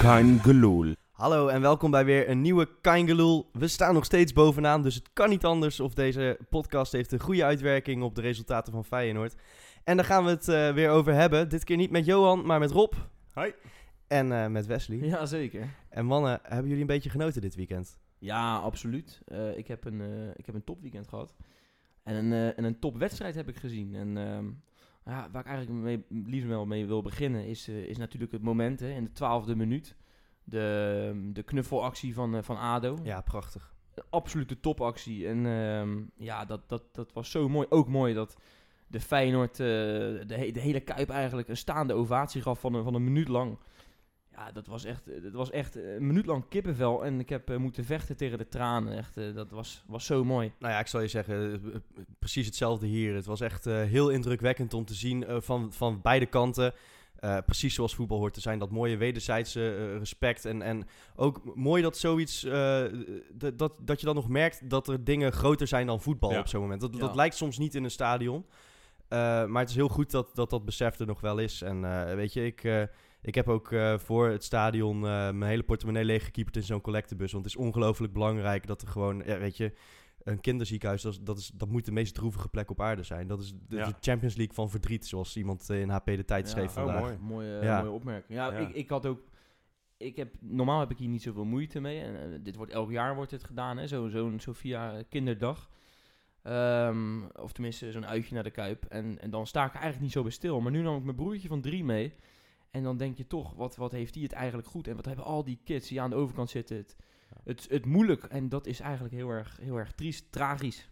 Kein geloel. Hallo en welkom bij weer een nieuwe Kaingeloel. We staan nog steeds bovenaan, dus het kan niet anders of deze podcast heeft een goede uitwerking op de resultaten van Feyenoord. En daar gaan we het eh, weer over hebben. Dit keer niet met Johan, maar met Rob. Hoi. En eh, met Wesley. Ja, zeker. En mannen, hebben jullie een beetje genoten dit weekend? Ja, absoluut. Eh, ik, heb een, eh, ik heb een topweekend gehad. En een, eh, en een topwedstrijd heb ik gezien. En ehm, ja, waar ik eigenlijk mee, liefst wel mee wil beginnen, is, eh, is natuurlijk het moment hè, in de twaalfde minuut. De, de knuffelactie van, eh, van Ado. Ja, prachtig. Een absolute topactie. En ehm, ja, dat, dat, dat was zo mooi. Ook mooi dat de Feyenoord eh, de, he- de hele Kuip eigenlijk een staande ovatie gaf van een, van een minuut lang. Ja, dat was echt, eh, dat was echt eh, een minuut lang kippenvel. En ik heb eh, moeten vechten tegen de tranen. Echt, eh, dat was, was zo mooi. Nou ja, ik zal je zeggen, eh, eh, precies hetzelfde hier. Het was echt eh, heel indrukwekkend om te zien eh, van, van beide kanten. Eh, precies zoals voetbal hoort te zijn. Dat mooie wederzijdse eh, respect. En, en ook mooi dat zoiets. eh, d- dat, dat je dan nog merkt dat er dingen groter zijn dan voetbal Ja. op zo'n moment. Dat, dat Ja. lijkt soms niet in een stadion. Eh, maar het is heel goed dat dat, dat besef er nog wel is. En eh, weet je, ik, eh, ik heb ook eh, voor het stadion eh, mijn hele portemonnee leeggekieperd in zo'n collectebus. Want het is ongelooflijk belangrijk dat er gewoon, ja, weet je, een kinderziekenhuis, dat, is, dat, is, dat moet de meest droevige plek op aarde zijn. Dat is de, Ja. de Champions League van verdriet, zoals iemand eh, in HP de tijd Ja. schreef Oh, vandaag. mooi. Mooie, Ja. mooie opmerking. Ja, Ja. Ik, ik had ook. Ik heb, normaal heb ik hier niet zoveel moeite mee. En, eh, dit wordt elk jaar wordt dit gedaan, hè? Zo, zo'n Sofia kinderdag. Ehm, of tenminste, zo'n uitje naar de Kuip. En, en dan sta ik er eigenlijk niet zo bij stil. Maar nu nam ik mijn broertje van drie mee. En dan denk je toch, wat, wat heeft hij het eigenlijk goed? En wat hebben al die kids die aan de overkant zitten het, het, het moeilijk? En dat is eigenlijk heel erg, heel erg triest, tragisch.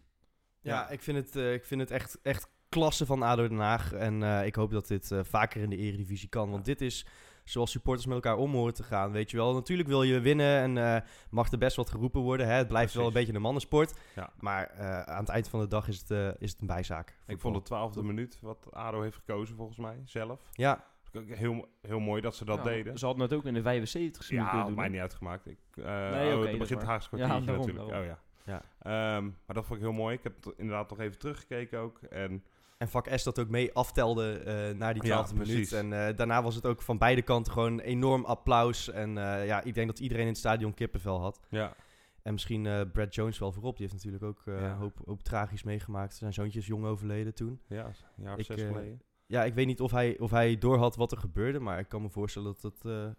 Ja, Ja. ik vind het, eh, ik vind het echt, echt klasse van ADO Den Haag. En eh, ik hoop dat dit eh, vaker in de Eredivisie kan. Want dit is zoals supporters met elkaar om horen te gaan. Weet je wel, natuurlijk wil je winnen en eh, mag er best wat geroepen worden. Hè? Het blijft wel een Precies. beetje een mannensport. Ja. Maar eh, aan het eind van de dag is het, eh, is het een bijzaak. Ik Voetbal. vond de twaalfde minuut wat ADO heeft gekozen volgens mij, zelf. Ja, Heel, heel mooi dat ze dat Ja, deden. Ze hadden het ook in de 75 Ja, kunnen had doen. mij hè? niet uitgemaakt. Ik, eh oké, oh, dat het is begint het waar. Haagse Ja, kwartiertje daarom, natuurlijk. Oh, daarom. ja. Ehm, maar dat vond ik heel mooi. Ik heb het inderdaad nog even teruggekeken ook. En en vak S dat ook mee aftelde eh na die Ja, 12 minuut. precies. En eh, daarna was het ook van beide kanten gewoon enorm applaus. En eh, ja, ik denk dat iedereen in het stadion kippenvel had. ja, En misschien eh, Brad Jones wel voorop. Die heeft natuurlijk ook eh, een Ja. hoop, hoop tragisch meegemaakt. Zijn zoontje is jong overleden toen. ja een jaar of Ik, zes eh, geleden. Ja, ik weet niet of hij, of hij doorhad wat er gebeurde. Maar ik kan me voorstellen dat dat, eh,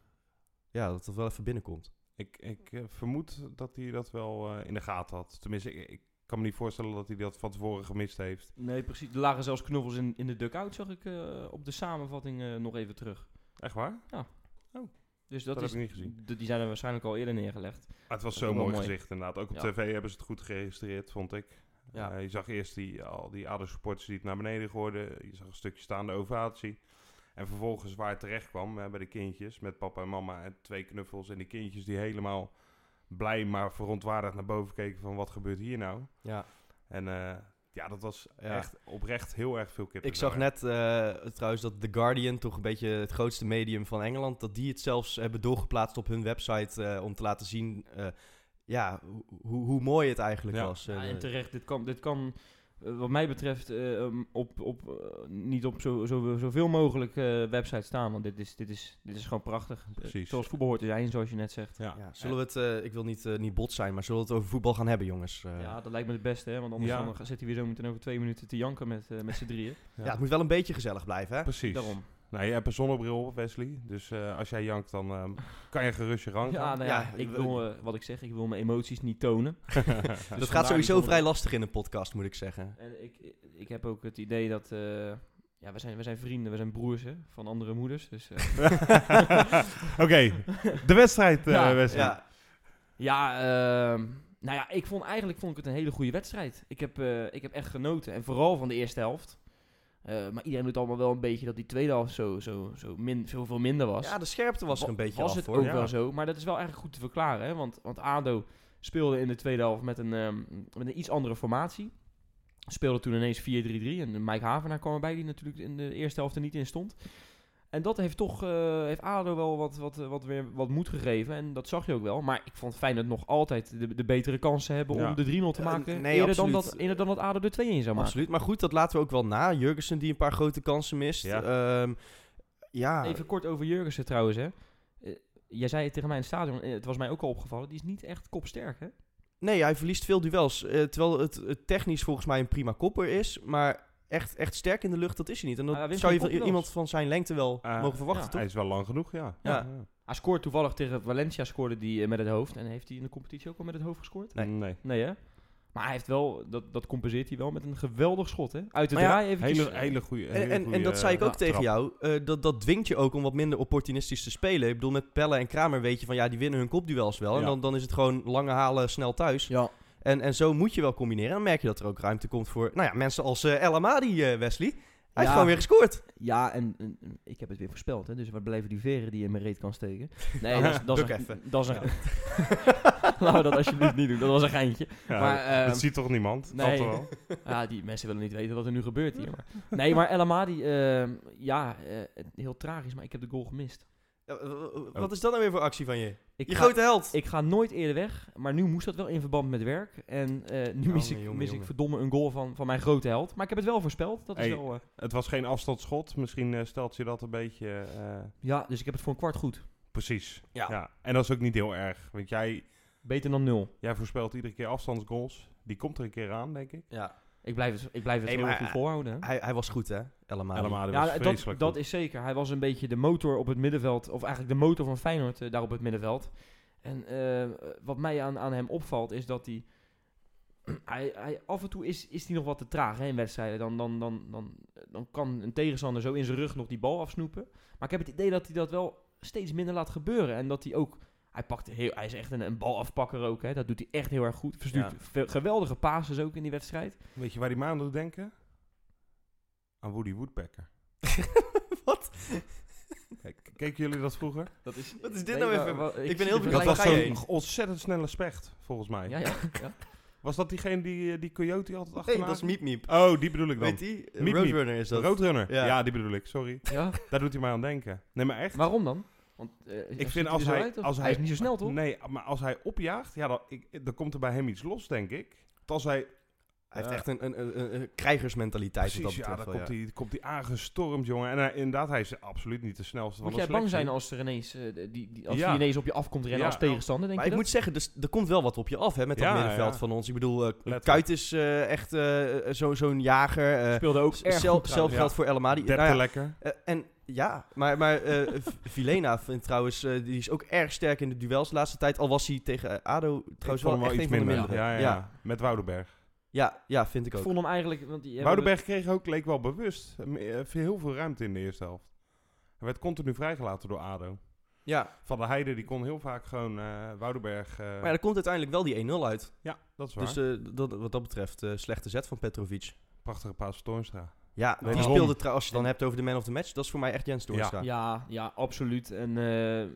ja, dat, dat wel even binnenkomt. Ik, ik eh, vermoed dat hij dat wel eh, in de gaten had. Tenminste, ik, ik kan me niet voorstellen dat hij dat van tevoren gemist heeft. Nee, precies. Er lagen zelfs knuffels in, in de dugout, zag ik eh, op de samenvatting eh, nog even terug. Echt waar? Dus dat, Dat is, heb ik niet gezien. d- Die zijn er waarschijnlijk al eerder neergelegd. Maar het was is zo'n wel mooi mooi. gezicht inderdaad. Ook op Ja. tv hebben ze het goed geregistreerd, vond ik. Ja. Eh, je zag eerst die, al die ADO-supporters die het naar beneden gooiden. Je zag een stukje staande ovatie. En vervolgens waar het terecht kwam, hè, bij de kindjes, met papa en mama en twee knuffels. En die kindjes die helemaal blij, maar verontwaardigd naar boven keken van wat gebeurt hier nou? Ja. En eh, ja, dat was Ja. echt oprecht heel erg veel kippen. Ik zag net eh, trouwens dat The Guardian, toch een beetje het grootste medium van Engeland, dat die het zelfs hebben doorgeplaatst op hun website eh, om te laten zien eh, ja, hoe- hoe, hoe mooi het eigenlijk Ja. was. Ja, Eh, en terecht, dit kan, dit kan eh, wat mij betreft eh, ehm, op, op, eh, niet op zo, zo, zoveel mogelijk eh websites staan. Want dit is, dit is, dit is gewoon prachtig. Eh, Precies. zoals voetbal hoort te zijn, zoals je net zegt. Ja. ja. Zullen we het, eh, ik wil niet, eh, niet bot zijn, maar zullen we het over voetbal gaan hebben, jongens? Eh, Ja, dat lijkt me het beste, hè? want anders Ja. dan ga- zit hij weer zo meteen over twee minuten te janken met, eh, met z'n drieën. ja. het moet wel een beetje gezellig blijven, hè? Precies. Daarom. Nou, je hebt een zonnebril op, Wesley. Dus eh, als jij jankt, dan ehm, kan je gerust je gang Ja, gaan. nou ja, Ja, ik we- wil, eh, wat ik zeg, ik wil mijn emoties niet tonen. Dus dat vandaar gaat die sowieso zonnebril. vrij lastig in een podcast, moet ik zeggen. En ik, ik heb ook het idee dat... eh, ja, we zijn, we zijn vrienden, we zijn broers hè, van andere moeders. Dus, eh, Oké, de wedstrijd, eh Ja, Wesley. Ja, ja, ehm, nou ja, ik vond, eigenlijk vond ik het een hele goede wedstrijd. Ik heb, eh, ik heb echt genoten. En vooral van de eerste helft. Eh, maar iedereen doet allemaal wel een beetje dat die tweede helft zo, zo, zo min, zoveel minder was. ja, de scherpte was er een Wa- beetje Was af, het hoor. ook Ja. wel zo, maar dat is wel eigenlijk goed te verklaren. Hè? Want, want ADO speelde in de tweede helft met een, ehm, met een iets andere formatie. Speelde toen ineens 4-3-3 en Mike Havenaar kwam erbij, die natuurlijk in de eerste helft er niet in stond. En dat heeft toch, eh, heeft ADO wel wat, wat, eh, wat, weer, wat moed gegeven en dat zag je ook wel. Maar ik vond fijn dat nog altijd de, de betere kansen hebben Ja. om de 3-0 te Eh, maken. nee, eerder, dan absoluut. dat, eerder dan dat ADO de 2 in zou maken. Absoluut. Maar goed, dat laten we ook wel na. Jurgensen die een paar grote kansen mist. Ja. Ehm, ja. Even kort over Jurgensen trouwens, hè. Eh, Jij zei het tegen mij in het stadion, eh, het was mij ook al opgevallen, die is niet echt kopsterk, hè? Nee, hij verliest veel duels. eh, terwijl het, het technisch volgens mij een prima kopper is. Maar echt, echt sterk in de lucht, dat is hij niet. En dat Maar hij wint zou je geen van i- kopduels. iemand van zijn lengte wel Ah, mogen verwachten, ja, toch? Hij is wel lang genoeg, ja. Ja. Hij scoort toevallig tegen Valencia scoorde die eh, met het hoofd. En heeft hij in de competitie ook al met het hoofd gescoord? Mm, Nee. Nee. Nee, hè? Maar hij heeft wel, dat, dat compenseert hij wel met een geweldig schot, hè? Uit de Maar ja, draai eventjes. Hele, hele goede. En, en, en dat zei ik ook tegen jou. eh, dat, dat dwingt je ook om wat minder opportunistisch te spelen. Ik bedoel, met Pelle en Kramer weet je van ja, die winnen hun kopduels wel. En Ja. dan, dan is het gewoon lange halen, snel thuis. Ja. En, en zo moet je wel combineren. En dan merk je dat er ook ruimte komt voor nou ja, mensen als eh El Amadi, eh, Wesley. Hij heeft Ja. gewoon weer gescoord. Ja, en, en, en ik heb het weer voorspeld, hè? Dus waar blijven die veren die je in mijn reet kan steken? Nee, dat is, dat is Buk een... even. Dat is een Laten we dat alsjeblieft niet doen, dat was een geintje. maar, maar, ehm, dat ziet toch niemand? nee. Nee. Dat wel. Ja, die mensen willen niet weten wat er nu gebeurt hier. Maar. Nee, maar El Amadi, ehm, ja, eh, heel tragisch, maar ik heb de goal gemist. Ja, w- w- Wat is dat nou weer voor actie van je? Ik Je ga- grote held. Ik ga nooit eerder weg, maar nu moest dat wel in verband met werk. En eh, nu Jongen, mis, ik, jongen, mis ik jongen. verdomme een goal van, van mijn grote held. Maar ik heb het wel voorspeld. Dat is Hey. wel, eh, Het was geen afstandsschot. Misschien eh, stelt je dat een beetje... eh, ja, dus ik heb het voor een kwart goed. precies. Ja. Ja. En dat is ook niet heel erg. Want jij, Beter dan nul. jij voorspelt iedere keer afstandsgoals. Die komt er een keer aan, denk ik. Ja, Ik blijf het, ik blijf het Hey, heel maar, goed eh, volhouden. hè. hij, hij was goed, hè? El Amadi. Helemaal, Ja, was dat, Ah, vreselijk dat goed. is zeker. Hij was een beetje de motor op het middenveld. Of eigenlijk de motor van Feyenoord eh, daar op het middenveld. En eh, wat mij aan, aan hem opvalt is dat hij... hij, hij af en toe is, is hij nog wat te traag hè, in wedstrijden. Dan, dan, dan, dan, eh, dan kan een tegenstander zo in zijn rug nog die bal afsnoepen. Maar ik heb het idee dat hij dat wel steeds minder laat gebeuren. En dat hij ook... Hij, pakt heel, hij is echt een, een balafpakker ook. Hè. Dat doet hij echt heel erg goed. Verstuurt Ja. ve- geweldige passes ook in die wedstrijd. Weet je waar die maanden doet denken? Aan Woody Woodpecker. Wat? Kijk, keken jullie dat vroger? Dat is, Wat is dit nou even? Ik ben heel Dat Gelijk was ga je zo'n ontzettend snelle specht, volgens mij. Ja, ja, ja. Was dat diegene die, eh, die Coyote altijd Nee, achterna? dat is Miep Miep. Oh, die bedoel ik dan. Weet die? Miep. Roadrunner is dat. Roadrunner. Ja. Ja. die bedoel ik, sorry. ja. Daar doet hij mij aan denken. Nee, maar echt. Waarom dan? Want, eh, ziet vind hij er als zo hij- of- als hij hij- is niet zo snel toch? Nee, maar als hij opjaagt, ja, dan, ik, dan komt er bij hem iets los, denk ik. Want Als hij... Hij heeft Ja. echt een, een, een, een krijgersmentaliteit Precies, wat dat ja, betreft. dan wel, komt hij, komt hij aangestormd, jongen. En hij- inderdaad, hij is absoluut niet de snelste Moet van jij de bang selectie. zijn als er ineens, eh, die, die, als Ja. die ineens op je afkomt rennen Ja, als tegenstander, denk Maar je ik dat? moet zeggen, dus, er komt wel wat op je af hè, met dat Ja, middenveld ja. van ons. Ik bedoel, eh, Letterlijk. Kuit is eh, echt eh, zo- zo'n jager. eh, speelde ook s- erg zelf- goed zelf trouwens. geldt voor El Amadi. Depte Nou ja, lekker. eh, en ja, maar, maar eh, V- Vilena vindt trouwens, eh, die is ook erg sterk in de duels de laatste tijd. Al was hij tegen eh, Ado trouwens Ik vond wel hem echt een van de mindere. Ja, ja, ja. ja. Met Woudenberg. Ja, ja, vind ik Ik ook. vond hem eigenlijk... Want die hebben Woudenberg kreeg ook, leek wel bewust, eh, heel veel ruimte in de eerste helft. Hij werd continu vrijgelaten door ADO. Ja, Van der Heijden, die kon heel vaak gewoon eh Woudenberg... eh, maar ja, er komt uiteindelijk wel die 1-0 uit. ja, dat is waar. Dus eh, dat, wat dat betreft, eh, slechte zet van Petrovic. eh, Prachtige paas van Toornstra. Ja, Weet die waarom? speelde trouwens, als je het dan hebt over de man of the match, dat is voor mij echt Jens Toornstra. Ja, ja, absoluut. En eh, ja,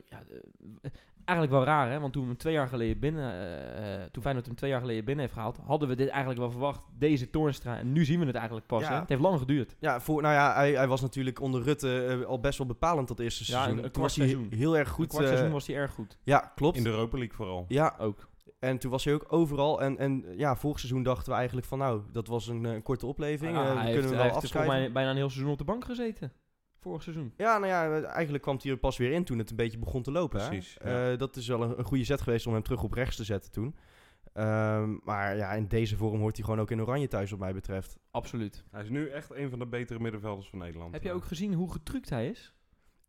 eh, eigenlijk wel raar, hè? Want toen, we hem twee jaar geleden binnen, eh, eh, toen Feyenoord hem twee jaar geleden binnen heeft gehaald, hadden we dit eigenlijk wel verwacht. Deze Toornstra. En nu zien we het eigenlijk pas, Ja. hè? Het heeft lang geduurd. Ja, voor, nou ja, hij, hij was natuurlijk onder Rutte eh, al best wel bepalend dat eerste Ja, seizoen. een- een toen was kwart hij he- seizoen. heel erg Goed, goed. kwart eh, seizoen was hij erg goed. Ja, klopt. In de Europa League vooral. Ja, Ook. en toen was hij ook overal. En, en ja, vorig seizoen dachten we eigenlijk van nou, dat was een, eh, een korte opleving. eh, Ja, die Ah, hij heeft, kunnen we hij wel heeft volgens afschrijven. mij bijna een heel seizoen op de bank gezeten. Vorig seizoen. Ja, nou ja, eh, eigenlijk kwam hij er pas weer in toen het een beetje begon te lopen. hè. Precies, Eh, dat is wel een, een goede zet geweest om hem terug op rechts te zetten toen. Ehm, maar ja, in deze vorm hoort hij gewoon ook in oranje thuis wat mij betreft. Absoluut. Hij is nu echt een van de betere middenvelders van Nederland. Heb je ook gezien hoe getrukt hij is?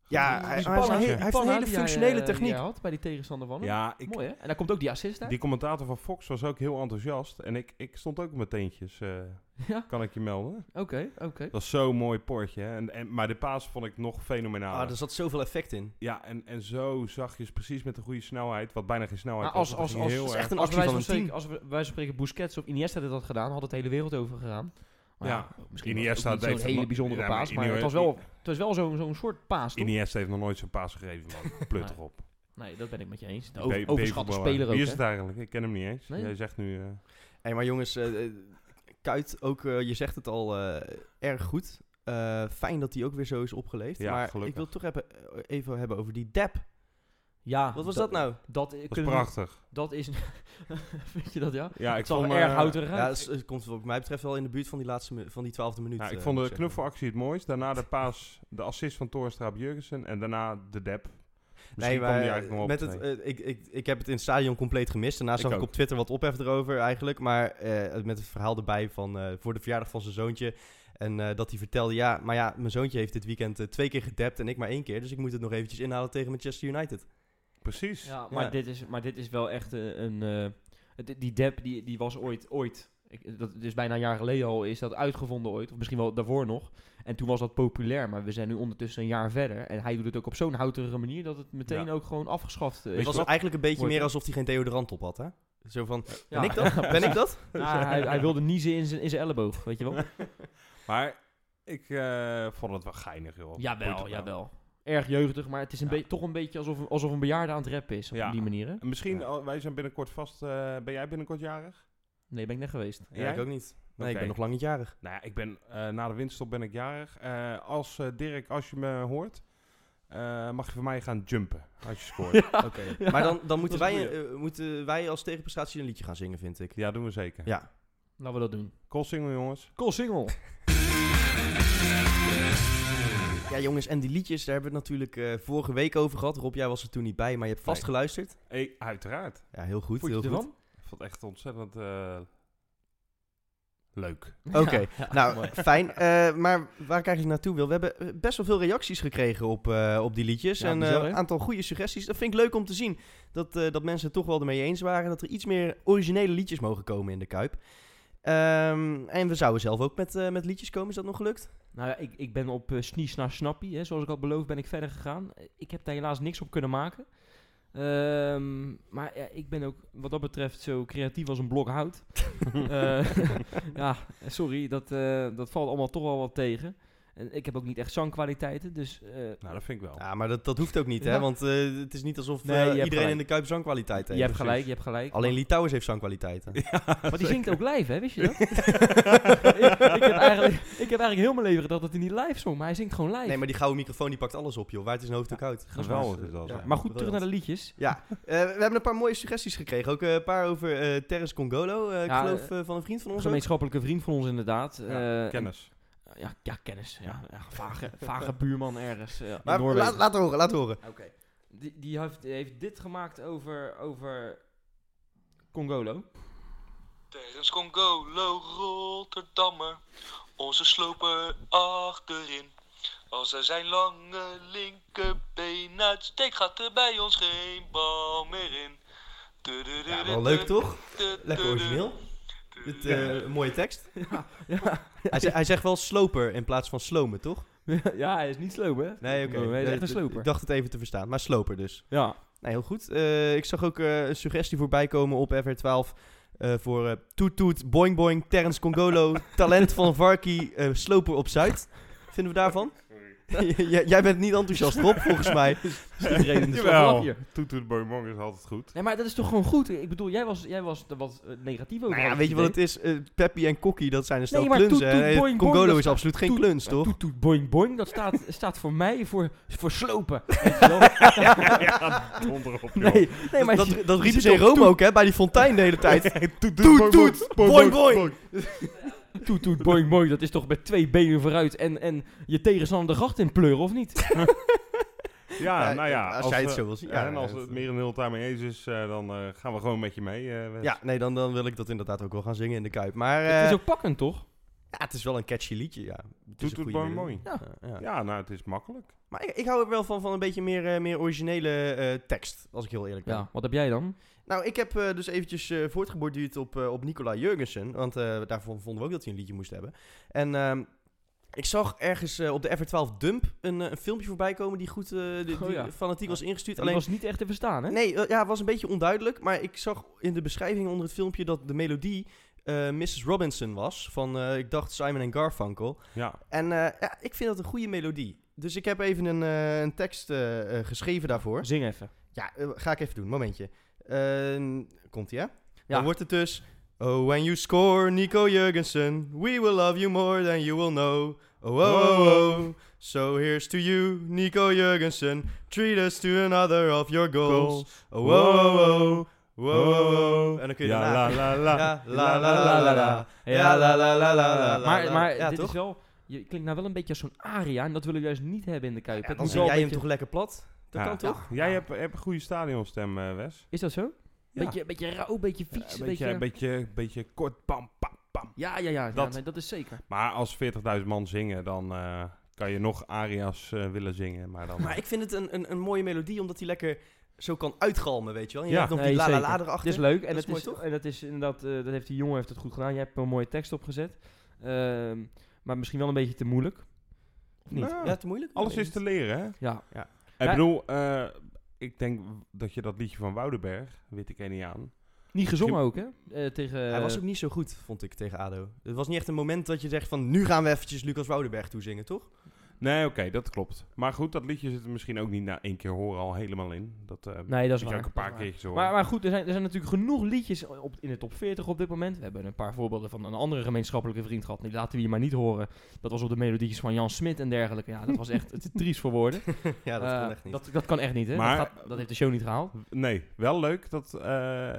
Ja, Die hij, hij, ballen- is een he- die hij heeft een hele functionele techniek. Hij had bij die tegenstander van hem. Ja, ik, Mooi hè? En daar komt ook die assist uit. die commentator van Fox was ook heel enthousiast. En ik, ik stond ook op mijn teentjes, eh, Ja, kan ik je melden. oké, oké. Dat is zo'n mooi portje. hè. En, en, maar de paas vond ik nog fenomenaal. Ah, er zat zoveel effect in. Ja, en, en zo zachtjes, precies met de goede snelheid. Wat bijna geen snelheid Nou, Maar was, Nou, Oh, dat ging als, als, als, heel als, erg- echt een als actie wij van zo een spreken, team. als we, wij zo spreken Busquets of Iniesta dit had gedaan, had het de hele wereld over gegaan. Maar Ja, misschien Iniesta was het ook niet deed zo'n het hele nog- bijzondere Ja, maar paas, maar, Iniesta- het was wel, het was wel zo'n zo'n soort paas toch? Iniesta heeft nog nooit zo'n paas gegeven, man. Plut Nee. erop. Nee, dat ben ik met je eens. De Be- over, overschatte beverballen. speler ook Wie is hè? het eigenlijk? Ik ken hem niet eens. Nee? Jij zegt nu... eh, Hey, maar jongens, eh, eh, Kuit, ook, eh, je zegt het al eh, erg goed. Eh, fijn dat hij ook weer zo is opgeleefd. Ja, maar gelukkig. ik wil het toch hebben, eh, even hebben over die Dep. Ja, Wat was dat nou? Ah, Dat, dat eh, is kunnen we- prachtig. dat is... Vind je dat ja? Ja, ik Het zal vond, erg eh, houterig Ja, uit. dat is- dat komt wat mij betreft wel in de buurt van die, laatste, mi- van die twaalfde minuut. Ja, Nou, ik eh, vond moet de ik zeggen. knuffelactie het mooist. Daarna de paas, de assist van Toornstra op Jurgensen. En daarna de dep. Misschien kwam die eigenlijk nog op. met het, nee. eh, ik, ik, ik heb het in het stadion compleet gemist. Daarna Ik zag ik ook. op Twitter wat ophef erover eigenlijk. Maar eh, met het verhaal erbij van eh, voor de verjaardag van zijn zoontje. En eh, dat hij vertelde, ja, maar ja, mijn zoontje heeft dit weekend eh, twee keer gedapt en ik maar één keer. Dus ik moet het nog eventjes inhalen tegen Manchester United. Precies. Ja, maar, Ja. Dit is, maar dit is wel echt eh, een... eh, het- die dep, die, die was ooit... ooit ik, dat is bijna een jaar geleden al, is dat uitgevonden ooit. Of misschien wel daarvoor nog. En toen was dat populair, maar we zijn nu ondertussen een jaar verder. En hij doet het ook op zo'n houterige manier dat het meteen Ja. ook gewoon afgeschaft eh, Het is. was eigenlijk een beetje Wordt- meer alsof hij geen deodorant op had, hè? Zo van, Ja. ben ik dat? Ben ik dat? Ja, hij, hij wilde niezen in zijn, in zijn elleboog, weet je wel? Maar ik eh, vond het wel geinig, joh. eh, Boeit nou. Jawel, het wel. jawel. Erg jeugdig, maar het is een Ja. be- toch een beetje alsof, een- alsof een bejaarde aan het rappen is. Op Ja. die manier, hè? En Misschien, Ja. al- wij zijn binnenkort vast... eh, ben jij binnenkort jarig? Nee, ben ik net geweest. Ja, ik ook niet. Nee, ik Oké. ben nog lang niet jarig. Nou ja, ik ben, eh, na de winststop ben ik jarig. Eh, als eh, Dirk, als je me hoort, eh, mag je van mij gaan jumpen als je scoort. ja. Oké. Maar dan, dan moeten, Dat wij, is eh, moeten wij als tegenprestatie een liedje gaan zingen, vind ik. doen we zeker. Ja. Laten we dat doen. Cool single, jongens. Cool single. Ja, jongens, en die liedjes, daar hebben we het natuurlijk eh, vorige week over gehad. Rob, jij was er toen niet bij, maar je hebt vast Nee. geluisterd. Hey, uiteraard. Ja, heel goed. Vond je heel het goed. ervan? Ik vond het echt ontzettend eh, leuk. Oké, nou fijn. Eh, maar waar ik eigenlijk naartoe wil, we hebben eh, best wel veel reacties gekregen op, eh, op die liedjes. Ja, en eh, bizar, een hè? aantal goede suggesties. Dat vind ik leuk om te zien. Dat, eh, dat mensen het toch wel ermee eens waren. Dat er iets meer originele liedjes mogen komen in de Kuip. Ehm, en we zouden zelf ook met, eh, met liedjes komen. Is dat nog gelukt? Nou ja, ik, ik ben op eh Snies naar Snappie, hè, zoals ik al beloofd, ben ik verder gegaan. Eh, Ik heb daar helaas niks op kunnen maken. Ehm, maar ja, ik ben ook wat dat betreft zo creatief als een blok hout. Eh, ja, sorry, dat, eh, dat valt allemaal toch wel wat tegen. En ik heb ook niet echt zangkwaliteiten, dus... eh, Nou, dat vind ik wel. Ja, maar dat, dat hoeft ook niet, hè? Ja. Want eh, het is niet alsof Nee, eh, je hebt iedereen gelijk. in de Kuip zangkwaliteit heeft. je hebt gelijk, je hebt gelijk. Alleen Litouwers heeft zangkwaliteiten. Maar die zingt ook live, hè? Wist je dat? ik, ik, heb eigenlijk, ik heb eigenlijk heel mijn leven gedacht dat hij niet live zong, maar hij zingt gewoon live. Nee, maar die gouden microfoon die pakt alles op, joh. Waar het is een hoofd ook uit. Geweldig is dat. Ja. hè. maar goed, terug briljant. naar de liedjes. Ja, eh, we hebben een paar mooie suggesties gekregen. Ook eh, een paar over eh, Terrence Congolo. eh, ik Ja, geloof eh, van een vriend van ons. ook. Gemeenschappelijke vriend van ons inderdaad. Eh, Kennis. en- ja, ja, kennis. Ja, ja, vage, vage buurman ergens. eh, in Maar Noorwegen. laat, laat horen, laat horen. Die, die heeft, heeft dit gemaakt over, over Congolo. Terrens Congolo, Rotterdammer, onze sloper achterin. Als hij zijn lange linkerbeen uitsteekt, gaat er bij ons geen bal meer in. Ja, wel leuk toch? Lekker origineel. Dit, eh, Ja. Mooie tekst. Ja, Hij, ze- hij zegt wel sloper in plaats van slomen, toch? ja, hij is niet sloop, hè? Nee, oké. Oh, hij is Nee, echt een d- sloper. Ik dacht het even te verstaan, maar sloper dus. Ja. Nou, heel goed. Eh, ik zag ook eh, een suggestie voorbij komen op FR12 eh, voor eh Toet Toet, Boing Boing, Terrence Congolo, Talent van Varky, eh, Sloper op Zuid. Vinden we daarvan? J- jij bent niet enthousiast, Rob, volgens mij. Iedereen in de Jawel. hier. Toet toet boing boing is altijd goed. Nee, maar dat is toch gewoon goed? Ik bedoel, jij was, jij was er wat eh, negatief over. Nou ja, had weet je wat idee. het is? Eh, Peppy en Kokkie, dat zijn dus een stel Nee, maar klunzen. toet, toet, Eh, boing, boing, Congolo dat is absoluut geen kluns, toch? Toet, toet, boing, boing. Dat staat, staat voor mij voor, voor slopen. Weet je wel? ja, donder op, joh. nee, nee, maar dat, je- dat, dat je riepen ziet ze in toch Rome ook, hè? Bij die fontein de hele tijd. Toet, toet, boing, Toet, boing, toet, boing, boing. Toet, toet, boing, boing. Dat is toch met twee benen vooruit en, en je tegenstander de gracht in pleuren, of niet? Ja, Ja, nou ja. als jij het we- zo wil zien. Ja, Ja, en als het- het meer een heel daarmee eens is, eh, dan eh, gaan we gewoon met je mee. eh, Wes. Ja, nee, dan, dan wil ik dat inderdaad ook wel gaan zingen in de Kuip. Maar Het eh, is ook pakkend, toch? ja, het is wel een catchy liedje, ja. Het Toet, is een toet, goede boing, melodie. boing. Ja, ja. Ja, nou, het is makkelijk. Maar ik, ik hou er wel van, van een beetje meer, eh, meer originele eh, tekst, als ik heel eerlijk ben. Ja, wat heb jij dan? Nou, ik heb eh, dus eventjes eh voortgeborduurd op, eh, op Nicola Jurgensen, want eh, daarvoor vonden we ook dat hij een liedje moest hebben. En ehm, ik zag ergens eh, op de F12 Dump een, eh, een filmpje voorbij komen die goed eh, die- die Oh, ja. fanatiek was ingestuurd. Het Alleen, was niet echt te verstaan, hè? nee, eh, ja, het was een beetje onduidelijk, maar ik zag in de beschrijving onder het filmpje dat de melodie eh, Mrs. Robinson was, van eh, ik dacht Simon en Garfunkel. Ja, En eh, ja, ik vind dat een goede melodie. Dus ik heb even een, eh, een tekst eh, eh, geschreven daarvoor. Zing even. Ja, eh, ga ik even doen, momentje. Eh, komt ie, hè? Ja. Dan wordt het dus... Oh, when you score, Nico Jurgensen, we will love you more than you will know. Oh, oh, oh, oh. So here's to you, Nico Jurgensen. Treat us to another of your goals. Oh, oh, oh, oh. Oh, oh, oh. En dan kun je ja, daarna... la, la, la. Ja, la, la, la, la, la. Ja, la, la, la, la, la, la. Maar, maar Ja, dit toch? is wel... Je klinkt nou wel een beetje als zo'n aria en dat willen we juist niet hebben in de Kuip. Ja, Het dan moet zing wel jij een hem toch lekker plat? Dat Ja. kan toch? Jij hebt, hebt een goede stadionstem, eh, Wes. Is dat zo? Ja. Beetje, beetje rauw, beetje Ja, vies. een beetje, een beetje, beetje kort, pam, pam, pam. Ja, ja, ja. Dat- ja nee, dat is zeker. Maar als 40.000 man zingen, dan eh, kan je nog arias eh, willen zingen. Maar dan... Oh, Maar ik vind het een, een, een mooie melodie, omdat die lekker zo kan uitgalmen, weet je wel. En je Ja. hebt nog Nee, die la la la zeker. erachter. Dit is leuk. En Dat is dat, mooi, is, toch? en dat is inderdaad, eh, dat heeft die jongen heeft het goed gedaan. Jij hebt er een mooie tekst opgezet. Ehm, maar misschien wel een beetje te moeilijk. Of niet? Nou, Ja, te moeilijk? alles Nee, is te leren, hè? Ja. Ik Ja. bedoel, eh, ik denk dat je dat liedje van Woudenberg, weet ik niet aan. Niet gezongen ook, hè? Eh, tegen, Hij was ook niet zo goed, vond ik, tegen ADO. Het was niet echt een moment dat je zegt van, nu gaan we eventjes Lucas Woudenberg toezingen, toch? Nee, oké, dat klopt. Maar goed, dat liedje zit er misschien ook niet na één keer horen al helemaal in. Dat eh Nee, dat is moet je waar. ook een Dat paar is waar. keertjes horen. Maar, maar goed, er zijn, er zijn natuurlijk genoeg liedjes op, in de top 40 op dit moment. We hebben een paar voorbeelden van een andere gemeenschappelijke vriend gehad. Die laten we hier maar niet horen. Dat was op de melodietjes van Jan Smit en dergelijke. Ja, dat was echt te triest voor woorden. ja, dat Eh, kan echt niet. Dat, dat kan echt niet, hè? Maar- dat, gaat- dat heeft de show niet gehaald. Nee, wel leuk dat eh,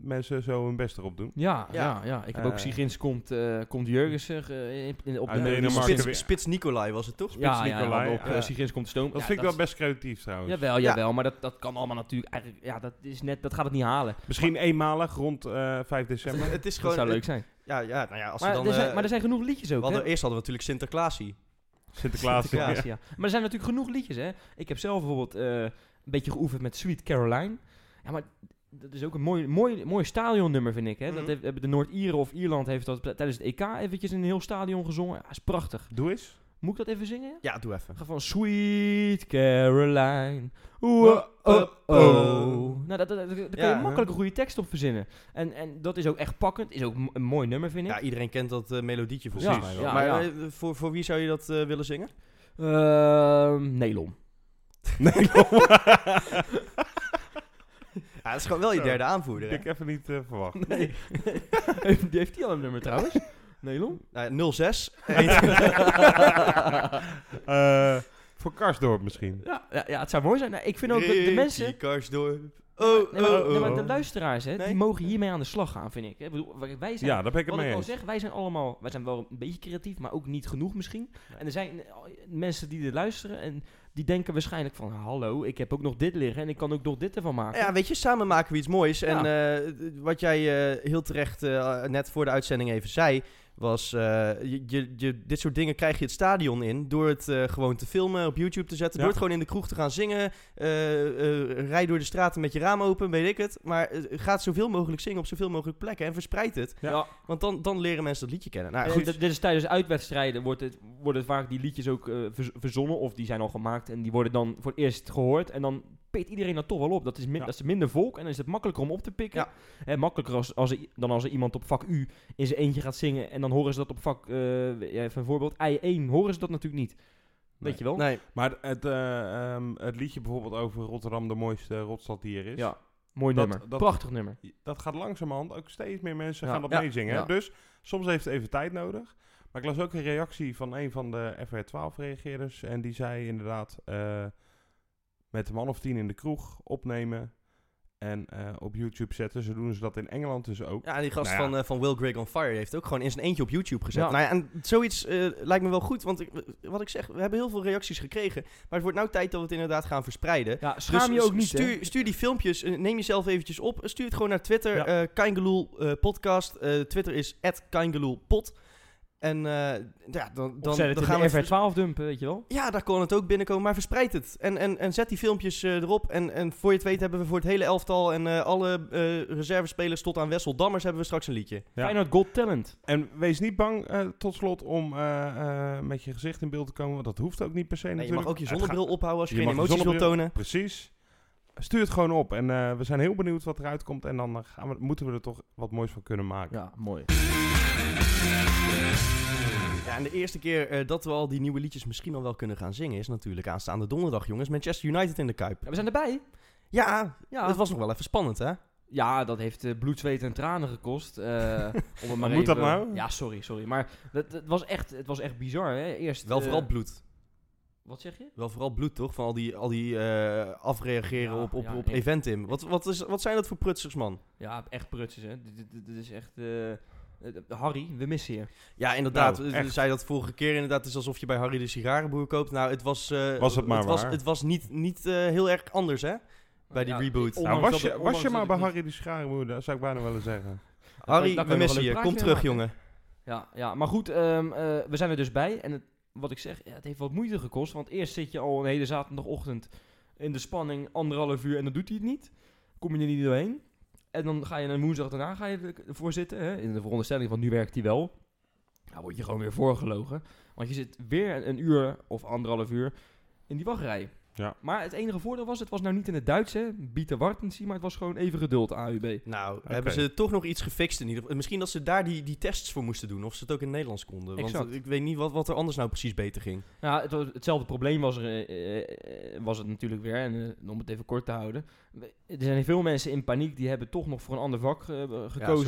mensen zo hun best erop doen. Ja, ja. Ja. ja, Ik heb ook Eh. Sigins komt, eh komt Jurgensen eh, in- in- op de Uit Die Denemarken spits, weer. spits Nicolai was het toch? Ja, ja, Nicolai, ja, op ja. eh, Sigins komt Stoom. Dat Ja, vind ik wel is- best creatief trouwens. Jawel, jawel, maar dat, dat kan allemaal natuurlijk eigenlijk... Ja, dat, is net, dat gaat het niet halen. Misschien eenmalig rond eh 5 december. Het is Dat gewoon... zou leuk zijn. Ja, ja, nou ja, als we Maar, dan... er zijn, eh, maar er zijn genoeg liedjes we ook, hè? hadden, eerst hadden we natuurlijk Sinterklaasie. Sinterklaas. Ja. ja. Sinterklaas, ja. Maar er zijn natuurlijk genoeg liedjes, hè. Ik heb zelf bijvoorbeeld eh, een beetje geoefend met Sweet Caroline. Ja, maar dat is ook een mooi, mooi, mooi stadionnummer, vind ik, hè. Dat Mhm. heeft- hebben de Noord-Ieren of Ierland heeft dat tijdens het EK eventjes in een heel stadion gezongen. Ja, is prachtig. Doe eens. Moet ik dat even zingen? Ja, doe even. Ga van Sweet Caroline. Oeh, oh, oh. Nou, dat, dat, dat- daar kun je Ja, makkelijk een goede tekst op verzinnen. En, en dat is ook echt pakkend. Is ook m- een mooi nummer, vind ik. Ja, iedereen kent dat eh, melodietje volgens Precies. mij wel. Ja, maar ja. eh, voor, voor wie zou je dat eh, willen zingen? Ehm, Nelon. Nee, joh. Ja, dat is gewoon wel je Zo. derde aanvoerder. hè? ik heb het niet eh, verwacht. Nee. heeft, heeft die al een nummer trouwens? Nelon? Nou, 06. Eh, voor Karsdorp misschien. Ja, ja, ja, het zou mooi zijn. Nou, ik vind ook dat de mensen... Karsdorp. Oh, Nee, maar, oh, nee, maar oh. de luisteraars, hè, Nee? die mogen hiermee aan de slag gaan, vind ik. hè. Ik bedoel, wij zijn Ja, daar ben ik het Wat ik mee al eens. zeg, wij zijn allemaal, wij zijn wel een beetje creatief, maar ook niet genoeg misschien. En er zijn eh, al- mensen die dit luisteren en die denken waarschijnlijk van, hallo, ik heb ook nog dit liggen en ik kan ook nog dit ervan maken. Ja, weet je, samen maken we iets moois. En eh, wat jij eh, heel terecht eh, net voor de uitzending even zei, was: eh, je, je, je- dit soort dingen krijg je het stadion in door het eh, gewoon te filmen, op YouTube te zetten, Ja. door het gewoon in de kroeg te gaan zingen. eh, eh, rij door de straten met je raam open, weet ik het. Maar eh, ga het zoveel mogelijk zingen op zoveel mogelijk plekken en verspreid het. Ja. Want dan, dan leren mensen dat liedje kennen. Nou, Eh, goed. dit- dit is tijdens uitwedstrijden wordt het, worden vaak die liedjes ook eh, verz- verzonnen of die zijn al gemaakt en die worden dan voor het eerst gehoord en dan pikt iedereen dat toch wel op. Dat is, min- Ja. dat is minder volk en dan is het makkelijker om op te pikken. Ja. Hè, makkelijker als, als er i- dan als er iemand op vak U in zijn eentje gaat zingen en dan horen ze dat op vak, eh, even een voorbeeld, I1, horen ze dat natuurlijk niet. Nee. Weet je wel? Nee, Maar het, eh, ehm, het liedje bijvoorbeeld over Rotterdam, de mooiste rotstad die er is. Ja, mooi Dat- nummer. dat- Prachtig nummer. Dat gaat langzamerhand ook steeds meer mensen Ja. gaan dat Ja. meezingen. Ja. Dus soms heeft het even tijd nodig. Maar ik las ook een reactie van een van de FR12-reageerders. En die zei inderdaad, eh, met een man of tien in de kroeg opnemen en eh, op YouTube zetten. Zo doen ze dat in Engeland dus ook. Ja, die gast Nou ja. Van, eh, van Will Greg on Fire heeft ook gewoon in zijn eentje op YouTube gezet. Ja. Nou ja, en zoiets eh, lijkt me wel goed, want ik, wat ik zeg, we hebben heel veel reacties gekregen. Maar het wordt nou tijd dat we het inderdaad gaan verspreiden. Ja, schaam Dus je ook niet, hè? Stuur, stuur die filmpjes, eh, neem jezelf eventjes op. eh, Stuur het gewoon naar Twitter, Ja. eh Kaingeloel eh, podcast. Eh, Twitter is @kaingeloelpod. En eh, ja, dan, Dan, dan, zet het dan in gaan we... de vers- FR12 dumpen, weet je wel? Ja, daar kon het ook binnenkomen, maar verspreid het. En, en, en zet die filmpjes eh, erop. En, en voor je het weet hebben we voor het hele elftal en eh, alle eh reservespelers tot aan Wessel Dammers hebben we straks een liedje. Ja. Feyenoord Gold Talent. En wees niet bang, eh, tot slot, om eh, eh, met je gezicht in beeld te komen. Want dat hoeft ook niet per se Nee, je natuurlijk. mag ook je Het gaat- zonnebril ophouden als je, Je geen mag je emoties wilt tonen. Precies. Stuur het gewoon op. En eh, we zijn heel benieuwd wat eruit komt. En dan eh, gaan we, moeten we er toch wat moois van kunnen maken. Ja, mooi. Ja, en de eerste keer eh, dat we al die nieuwe liedjes misschien al wel kunnen gaan zingen... is natuurlijk aanstaande donderdag, jongens. Manchester United in de Kuip. Ja, we zijn erbij. Ja, Ja. dat was nog wel even spannend, hè? Ja, dat heeft eh, bloed, zweet en tranen gekost. eh, om het maar Moet dat even- nou? Ja, sorry, sorry. Maar dat, dat was echt, het was echt bizar, hè? Eerst, Wel eh, vooral bloed. Wat zeg je? Wel vooral bloed, toch? Van al die, al die eh, afreageren Ja, op, op, ja, op en- Eventim. Wat, wat, is, wat zijn dat voor prutsers, man? Ja, echt prutsers, hè? Dit, dit, dit is echt eh, eh, Harry, we missen je. Ja, inderdaad. Nou, we echt. zei dat vorige keer inderdaad. Het is alsof je bij Harry de sigarenboer koopt. Nou, het was... eh, Was het maar was, waar. Het was niet, niet eh, heel erg anders, hè? Bij die reboot. Nou, was ondanks dat- je, was ondanks je maar dat bij ik niet- Harry de Scharenmoeder, dat zou ik bijna willen zeggen. Harry, daar kunnen we we missen wel je. een Kom praatje terug, maken. jongen. Ja, ja, maar goed, ehm, eh, we zijn er dus bij. En het, wat ik zeg, ja, het heeft wat moeite gekost. Want eerst zit je al een hele zaterdagochtend in de spanning, anderhalf uur, en dan doet hij het niet. Kom je er niet doorheen. En dan ga je een woensdag daarna ga je ervoor zitten. Hè, in de veronderstelling van nu werkt hij wel. Dan word je gewoon weer voorgelogen. Want je zit weer een uur of anderhalf uur in die wachtrij. Ja. Maar het enige voordeel was, het was nou niet in het Duits, hè. Bieter Wartensie, maar het was gewoon even geduld, AUB. Nou, Oké. hebben ze toch nog iets gefixt in ieder geval. Misschien dat ze daar die, die tests voor moesten doen. Of ze het ook in het Nederlands konden. Want Exact. ik weet niet wat, wat er anders nou precies beter ging. Nou, het, was- hetzelfde probleem was, er, eh, eh, eh, was het natuurlijk weer. En eh, om het even kort te houden. we- Er zijn veel mensen in paniek die hebben toch nog voor een ander vak eh, gekozen. Ja, zoals,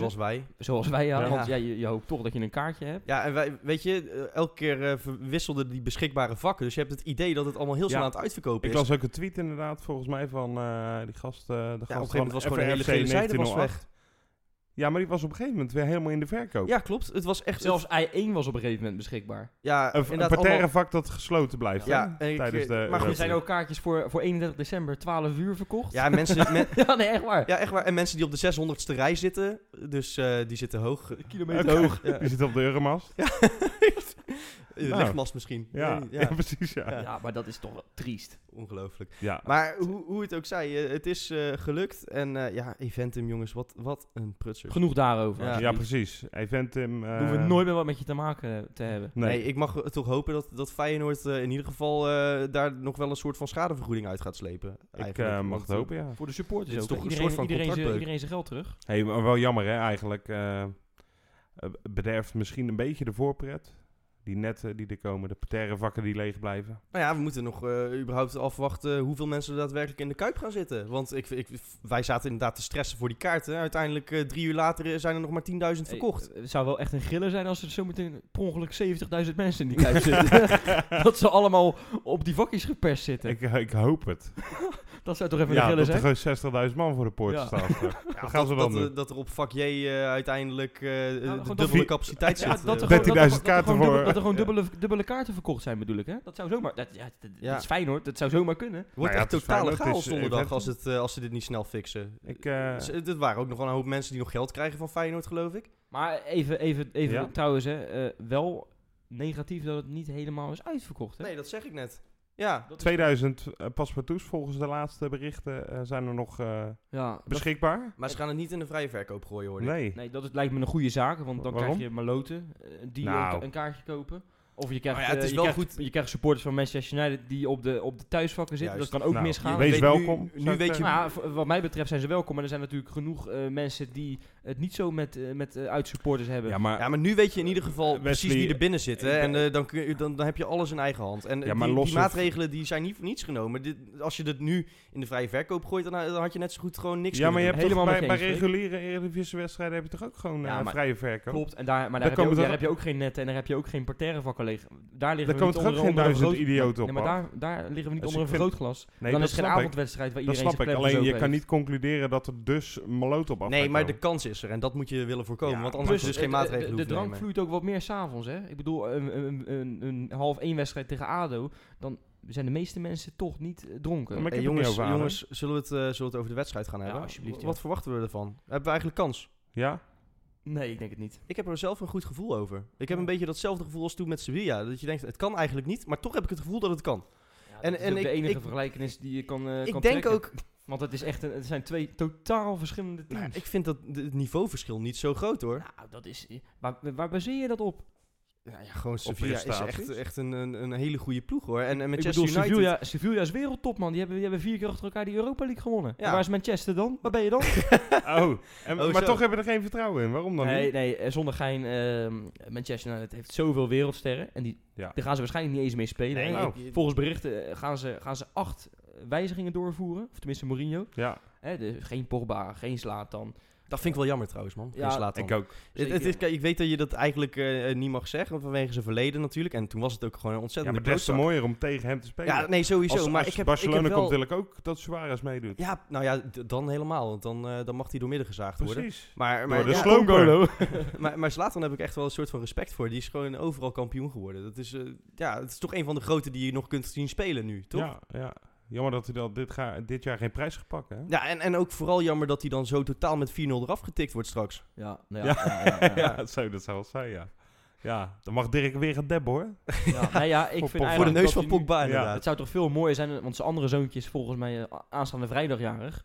zoals wij. wij. Ja, Ja. Want ja, je, je hoopt toch dat je een kaartje hebt. Ja, en wij, weet je, eh, elke keer eh, verwisselden die beschikbare vakken. Dus je hebt het idee dat het allemaal heel snel Ja. aan het uitverkopen Ik is. las ook een tweet inderdaad, volgens mij, van eh, die gast. eh, de gast ja, op een gegeven van moment was gewoon de FRFC hele gele zijde was 1908. weg. Ja, maar die was op een gegeven moment weer helemaal in de verkoop. Ja, klopt. Het was echt... Zelfs I1 was op een gegeven moment beschikbaar. ja, Een, een inderdaad allemaal- parterrevak dat gesloten blijft Ja, hè, en ik- eh, tijdens de... maar goed, dat- er Europa zijn League. ook kaartjes voor, voor 31 december 12 uur verkocht. Ja, mensen, men- Ja, nee, echt waar. ja, echt waar. En mensen die op de 600ste rij zitten, dus eh, die zitten hoog. eh, Kilometer Oké. hoog. Ja. Je zit op de Euromast. Nou. Legmast Eh, misschien. Eh, Ja, Nee, ja. precies. Ja. Ja. Ja, maar dat is toch wel triest. Ongelooflijk. Maar hoe, hoe het ook zij, eh, het is eh, gelukt. En eh, ja, Eventum jongens, wat, wat een prutser. Genoeg daarover. Ja. alsjeblieft. Ja, precies. Eventim... eh, Hoeven we nooit meer wat met je te maken eh, te hebben. Nee, Nee, ik mag eh, toch hopen dat, dat Feyenoord eh, in ieder geval eh, daar nog wel een soort van schadevergoeding uit gaat slepen. ik eigenlijk. eh, mag Want, het hopen, ja. Voor de supporters Dit is ook, toch hè. een iedereen, soort van iedereen, zijn, contractbreuk. iedereen zijn geld terug. Hey, maar wel jammer hè, eigenlijk. eh, eh, bederft misschien een beetje de voorpret. Die netten die er komen, de parterrevakken die leeg blijven. Nou ja, we moeten nog eh, überhaupt afwachten hoeveel mensen er daadwerkelijk in de Kuip gaan zitten. Want ik, ik, wij zaten inderdaad te stressen voor die kaarten. Uiteindelijk eh, drie uur later eh, zijn er nog maar 10.000 verkocht. Hey, Het Eh, zou wel echt een griller zijn als er zometeen per ongeluk 70.000 mensen in die kuip zitten. dat ze allemaal op die vakjes geperst zitten. Ik, eh, ik hoop het. dat zou toch even een Ja, griller dat er zijn? gewoon 60.000 man voor de poort Ja. staat. Wat Ja, gaan ze dat, dan dat, doen? eh, dat er op vak J eh, uiteindelijk eh, Nou, gewoon de dat- dubbele Vi- capaciteit Ja, zit. dat er eh. gewoon- dat 13.000 er gewoon- dat er kaarten gewoon dubbele- voor- Dat er gewoon Ja. dubbele, dubbele kaarten verkocht zijn, bedoel ik, hè? Dat zou zomaar... Dat, ja, dat, dat Ja. is Feyenoord, dat zou zomaar kunnen. Het wordt Nou ja, echt het is totale Feyenoord, het chaos is, eh, donderdag Twente. als, het, eh, als ze dit niet snel fixen. Ik, eh, Z- dit waren ook nog wel een hoop mensen die nog geld krijgen van Feyenoord, geloof ik. Maar even, even, even Ja. trouwens, hè, eh, wel negatief dat het niet helemaal is uitverkocht, hè? Nee, dat zeg ik net. Ja, Dat is- 2000 eh, paspartouts volgens de laatste berichten eh, zijn er nog eh, Ja, dat, beschikbaar. maar ze gaan het niet in de vrije verkoop gooien, hoor ik. Nee. nee, dat is- lijkt me een goede zaak, want dan Waarom? krijg je maloten eh, die Nou. een, ka- een kaartje kopen. Of je krijgt, Maar Oh ja, het eh, is je wel krijgt, goed- je krijgt supporters van Manchester United die op de, op de thuisvakken zitten. Juist. Dat kan ook Nou, misgaan. Wees Weet welkom, Nu, zou nu ik weet je... Nou ja, v- wat mij betreft zijn ze welkom, maar er zijn natuurlijk genoeg eh, mensen die het niet zo met, eh, met eh, uitsupporters hebben. Ja, maar, Ja, maar nu weet je in ieder geval Eh, Wesley, precies wie er binnen zit. Hè? ik En ben- eh, dan, kun je, dan, dan heb je alles in eigen hand. En eh, Ja, maar die, die los of- maatregelen die zijn niet voor niets genomen. Dit, als je dit nu in de vrije verkoop gooit, dan, eh, dan had je net zo goed gewoon niks ja, maar je kunnen hebt Helemaal toch met bij, je bij eens, Freek. reguliere Eredivisie-wedstrijden heb je toch ook gewoon Ja, eh, maar- vrije verkoop? Klopt, en daar, maar daar, Daar heb, je komen ook, toch daar ook- heb je ook geen netten en daar heb je ook geen parterrevakken liggen. Daar liggen Daar we komen toch niet ook onder, geen onder een duizend vergroot- idioten Nee, op maar daar, daar liggen we niet Dus onder een ik vind- vergrootglas. Nee, dat dan is het geen snap ik. avondwedstrijd waar Dat snap iedereen ik. zijn klem Alleen je gezopen kan heeft. niet concluderen dat er dus maloot op af Nee, gaat maar de komen. kans is er. En dat moet je willen voorkomen. Ja, want anders plus is dus het- geen het- maatregelen De, de hoeven te drank nemen. vloeit ook wat meer s'avonds, hè? Ik bedoel, een, een, een, een half één wedstrijd tegen ADO, dan zijn de meeste mensen toch niet eh, dronken. Ja, maar ik Hey, heb het jongens, niet over jongens zullen, we het, eh, zullen we het over de wedstrijd gaan hebben? alsjeblieft, ja. Wat verwachten we ervan? Hebben we eigenlijk kans? Ja? Nee, ik denk het niet. Ik heb er zelf een goed gevoel over. Ik heb een beetje datzelfde gevoel als toen met Sevilla. Dat je denkt, het kan eigenlijk niet, maar toch heb ik het gevoel dat het kan. En- en, dat is en ook ik- de enige ik- vergelijkenis die je kan, eh, kan ik denk trekken. ook, Want het, is echt een, het zijn twee totaal verschillende teams. nou, ik vind dat de- het niveauverschil niet zo groot hoor. Nou, dat is... Waar, waar baseer je dat op? Ja, ja, gewoon Sevilla is prestaties. echt, echt een, een, een hele goede ploeg hoor. En, en ik Manchester bedoel, United... Sevilla, Sevilla is wereldtop, man. Die hebben, die hebben vier keer achter elkaar die Europa League gewonnen. Ja. En waar is Manchester dan? Waar ben je dan? Oh, en, maar Oh, zo. toch hebben we er geen vertrouwen in. Waarom dan nee, niet? nee, eh, zonder gein. ehm, Manchester United heeft zoveel wereldsterren. En die, Ja. daar gaan ze waarschijnlijk niet eens mee spelen. Nee, hè. nou, ik- Volgens berichten eh, gaan ze, gaan ze acht eh, wijzigingen doorvoeren. Of tenminste Mourinho. Ja, Hè, dus geen Pogba, geen Slatan. Dat vind ik wel jammer trouwens, man. Ja, Ja, slaat Ik ook. Het, het is, kijk, ik weet dat je dat eigenlijk eh, niet mag zeggen, vanwege zijn verleden natuurlijk. En toen was het ook gewoon een Ja, ontzettend maar des te mooier om tegen hem te spelen. Ja, nee, sowieso. Als- maar als ik heb, Barcelona ik heb wel... komt natuurlijk ook dat Suarez meedoet. Ja, nou ja, d- dan helemaal. Want dan, eh, dan mag hij doormidden gezaagd worden. Precies. Maar, Door maar, de ja, slow goal. maar, maar Zlatan heb ik echt wel een soort van respect voor. Die is gewoon overal kampioen geworden. Dat is, eh, ja, het is toch een van de grote die je nog kunt zien spelen nu, toch? Ja, ja. Jammer dat hij dat dit, ga- dit jaar geen prijs gaat pakken. Hè? Ja, en, en ook vooral jammer dat hij dan zo totaal met 4-0 eraf getikt wordt straks. Ja, Ja, nou ja, ja, ja, ja, ja. dat zou, dat zou wel zijn, ja. Ja, dan mag Dirk weer gaan debben, hoor. Ja, nou ja, ik Voor Pogba. vind voor de eigenlijk neus dat van hij nu- Pogba Ja. inderdaad. Het zou toch veel mooier zijn, want zijn andere zoontje is volgens mij eh, a- aanstaande vrijdagjarig.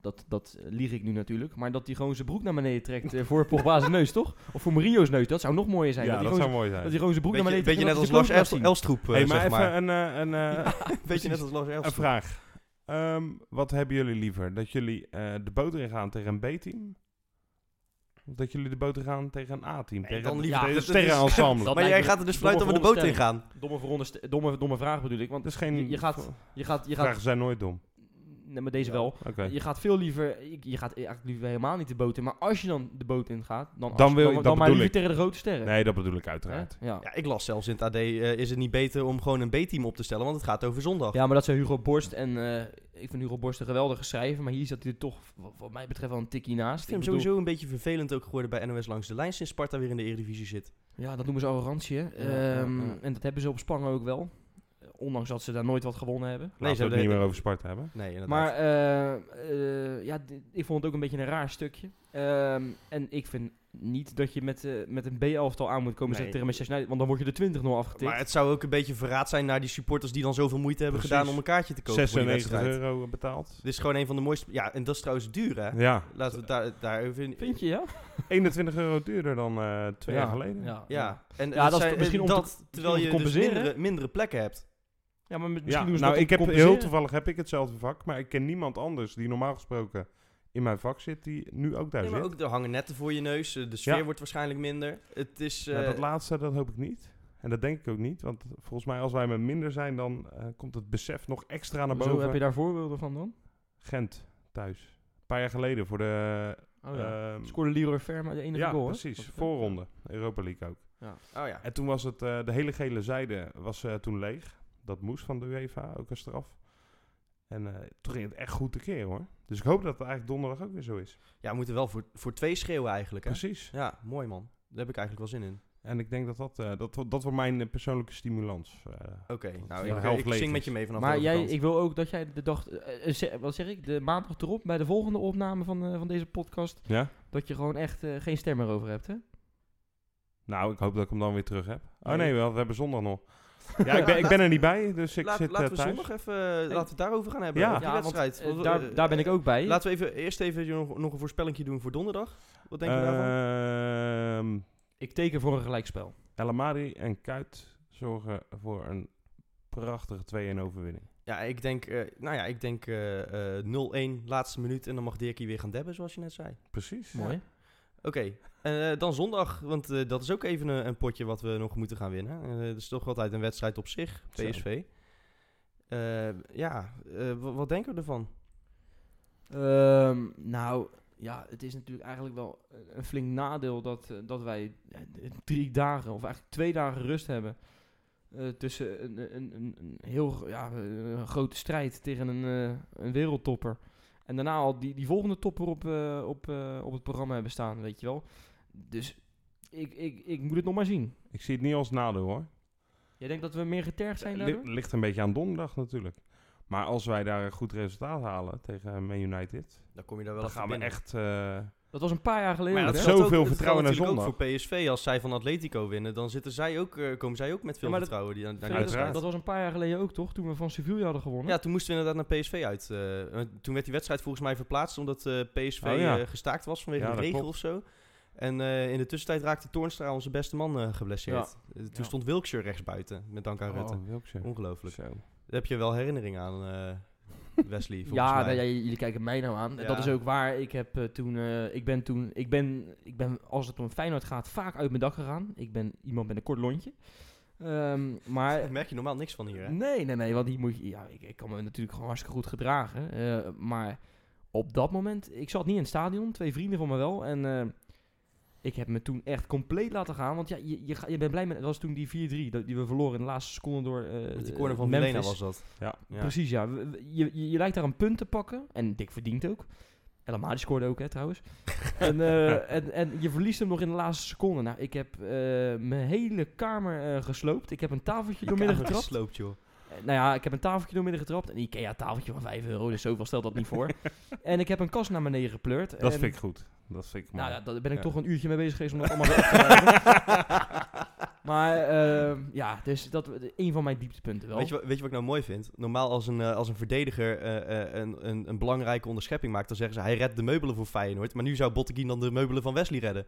Dat, dat eh, lieg ik nu natuurlijk. Maar dat hij gewoon zijn broek naar beneden trekt eh, voor Pogba's neus, toch? Of voor Mourinho's neus, dat zou nog mooier zijn. ja, dat, hij dat gewoon, zou mooi dat zijn. hij gewoon zijn broek Beetje, naar beneden beetje net als trekt. en dat Lars hij zijn Elst- broek laat Elstroep, hey, eh, maar zeg even maar. een, eh, een, eh, beetje net als Lars een Elstroep. vraag. Ehm, wat hebben jullie liever? Dat jullie eh, de boot in gaan tegen een B-team? Of dat jullie de boot in gaan tegen een A-team? Nee, tegen dan een- liever- tegen een dat- dat is- sterrenensemble. dat Maar jij lijkt me gaat er dus vanuit dat we de domme boot in gaan. zien. Domme, veronderste- domme, domme vraag bedoel ik. Want Dat is geen... je, je gaat... Je gaat, je gaat Vragen zijn nooit dom. nee, maar deze wel. Oké. Je gaat veel liever... Je, je gaat eigenlijk liever helemaal niet de boot in. Maar als je dan de boot in gaat, dan, Dan als- wil je- dan, dat maar bedoel liever ik. tegen de grote sterren. Nee, dat bedoel ik Hè? uiteraard. Ja. Ja, ik las zelfs in het AD, eh, is het niet beter om gewoon een B-team op te stellen, want het gaat over zondag. Ja, maar dat zijn Hugo Borst. En eh, ik vind Hugo Borst een geweldige schrijver. Maar hier zat hij er toch, wat, wat mij betreft, wel een tikkie naast. Ik vind hem bedoel- sowieso een beetje vervelend ook geworden bij NOS langs de lijn sinds Sparta weer in de Eredivisie zit. Ja, dat noemen ze arrogantie. hè. ja, Ehm, ja. En dat hebben ze op Spangen ook wel. Eh, Ondanks dat ze daar nooit wat gewonnen hebben. Laten we het ze hebben niet de- meer over Sparta hebben. Nee, inderdaad. Maar eh, eh, ja, dit- ik vond het ook een beetje een raar stukje. Ehm, en ik vind niet dat je met, eh, met een B-elftal aan moet komen Nee. zeggen tegen Manchester United. Want dan word je de 20-0 afgetikt. maar het zou ook een beetje verraad zijn naar die supporters die dan zoveel moeite hebben Precies. gedaan om een kaartje te kopen voor die 96 wedstrijd. euro betaald. Dit is gewoon een van de mooiste... Ja, en dat is trouwens duur, hè? Ja, Laten we het daar, daar even... in- Vind je, ja? 21 euro duurder dan eh, twee Ja. jaar geleden. Ja, en Ja, en dat is zijn- t- misschien om te- dat, om terwijl te je dus compenseren. mindere, mindere plekken hebt. Ja, maar misschien Ja, doen ze nou, dat om ik te heb heel compenseren. toevallig heb ik hetzelfde vak, maar ik ken niemand anders die normaal gesproken in mijn vak zit, die nu ook daar Nee, maar zit. ook er hangen netten voor je neus, eh, de sfeer Ja. wordt waarschijnlijk minder. Het is... dus, Maar eh, Nou, dat laatste, dat hoop ik niet. En dat denk ik ook niet, want volgens mij als wij met minder zijn, dan eh, komt het besef nog extra naar Zo boven. heb je daar voorbeelden van dan? Gent, thuis. Een paar jaar geleden voor de... Oh, ja. ehm, Scoorde Leroy Verma de enige ja, goal, hè? precies. Dat- Voorronde. Europa League ook. Oh ja. En toen was het, eh, de hele gele zijde was eh, toen leeg. Dat moest van de UEFA, ook als straf. En eh, toen ging het echt goed te keer hoor. Dus ik hoop dat het eigenlijk donderdag ook weer zo is. Ja, we moeten wel voor, voor twee schreeuwen eigenlijk, hè? Precies. Ja, mooi man. Daar heb ik eigenlijk wel zin in. En ik denk dat dat, eh, dat, wordt- dat wordt mijn eh, persoonlijke stimulans. eh. Oké, Dat nou is ik, wel half ik leeg zing is. met je mee vanaf Maar de jij, overkant. ik wil ook dat jij de dag, eh, eh, ze- wat zeg ik, de maandag erop bij de volgende opname van, eh, van deze podcast, Ja? dat je gewoon echt eh, geen stem meer over hebt, hè? Nou, ik hoop dat ik hem dan weer terug heb. Oh Nee. nee, wel, we hebben zondag nog. Ja, ik ben, ik ben er niet bij, dus ik Laat- zit eh, laten we thuis. zondag even laten we het daarover gaan hebben. Ja. over die want, wedstrijd. eh, eh, daar, daar ben ik ook bij. Laten we even, eerst even nog, nog een voorspellingje doen voor donderdag. Wat denk je Eh, daarvan? Ehm, ik teken voor een gelijkspel. El Amadi en Kuit zorgen voor een prachtige 2-1 overwinning. Ja, ik denk, eh, nou ja, ik denk eh, eh, 0-1 laatste minuut en dan mag Dirkie weer gaan debben, zoals je net zei. Precies. Mooi. Oké, eh, dan zondag, want eh, dat is ook even een, een potje wat we nog moeten gaan winnen. Eh, dat is toch altijd een wedstrijd op zich, Zo. PSV. Eh, ja, eh, wa- wat denken we ervan? Ehm, nou, ja, het is natuurlijk eigenlijk wel een flink nadeel dat, eh, dat wij eh, drie dagen, of eigenlijk twee dagen rust hebben. eh, tussen een, een, een, een heel gro- ja, eh, een grote strijd tegen een, eh, een wereldtopper. En daarna al die, die volgende topper op, eh, op, eh, op het programma hebben staan, weet je wel. Dus ik, ik, ik moet het nog maar zien. Ik zie het niet als nadeel hoor. Eh, Jij denkt dat we meer getergd zijn Li- daardoor? ligt een beetje aan donderdag natuurlijk. Maar als wij daar een goed resultaat halen tegen Man United, Dan kom je daar wel dan gaan we echt... eh, Dat was een paar jaar geleden. Maar ja, hè? dat Zoveel geldt ook- het vertrouwen geldt naar natuurlijk ook voor PSV, als zij van Atletico winnen, dan zitten zij ook, eh, komen zij ook met veel Ja, maar dat- vertrouwen. Die, aan- naar die Uiteraard. wedstrijd. dat was een paar jaar geleden ook, toch? Toen we van Sevilla hadden gewonnen. Ja, toen moesten we inderdaad naar PSV uit. eh, want toen werd die wedstrijd volgens mij verplaatst omdat eh, PSV Oh, ja. eh, gestaakt was vanwege Ja, de dat regel klopt. of zo. En eh, in de tussentijd raakte Toornstra, onze beste man, eh, geblesseerd. Eh, toen Ja. stond Wilkshire rechtsbuiten, met dank aan Rutte. oh, Wilkshire. Ongelooflijk. Zo. Daar heb je wel herinnering aan, eh, Wesley, volgens Ja, mij. nou, ja, jullie kijken mij nou aan. Ja. Dat is ook waar. Ik heb eh, toen, eh, ik ben toen, ik ben, ik ben, als het om Feyenoord gaat, vaak uit mijn dak gegaan. Ik ben iemand met een kort lontje. Ehm, maar Daar merk je normaal niks van hier, hè? nee, nee, nee, want die moet je, ja, ik, ik kan me natuurlijk gewoon hartstikke goed gedragen. eh, maar op dat moment, ik zat niet in het stadion, twee vrienden van me wel. En eh, ik heb me toen echt compleet laten gaan. Want ja, je, je, ga- je bent blij met, dat was toen die 4-3 dat- die we verloren in de laatste seconde door eh Met die corner van Memphis. Verena was dat. Ja. ja. Precies, ja. We- we- Je, je, je lijkt daar een punt te pakken. En dik verdient ook. El Amadi scoorde ook, hè, trouwens. en, eh, en, en je verliest hem nog in de laatste seconde. Nou, ik heb eh, mijn hele kamer eh, gesloopt. Ik heb een tafeltje doormidden Kamer getrapt. gesloopt, joh. Eh, Nou ja, ik heb een tafeltje doormidden getrapt. Een IKEA-tafeltje van 5 euro, dus zoveel stelt dat niet voor. en ik heb een kast naar beneden gepleurd. Dat en, vind ik goed. Dat vind ik mooi. Ehm, Nou ja, daar ben ik Ja. toch een uurtje mee bezig geweest om dat allemaal weer op te ruimen. Maar eh, ja, dus dat een van mijn dieptepunten wel. Weet je, wa- weet je wat ik nou mooi vind? Normaal als een, eh, als een verdediger eh, eh, een, een, een belangrijke onderschepping maakt, dan zeggen ze hij redt de meubelen voor Feyenoord. Maar nu zou Botteguin dan de meubelen van Wesley redden.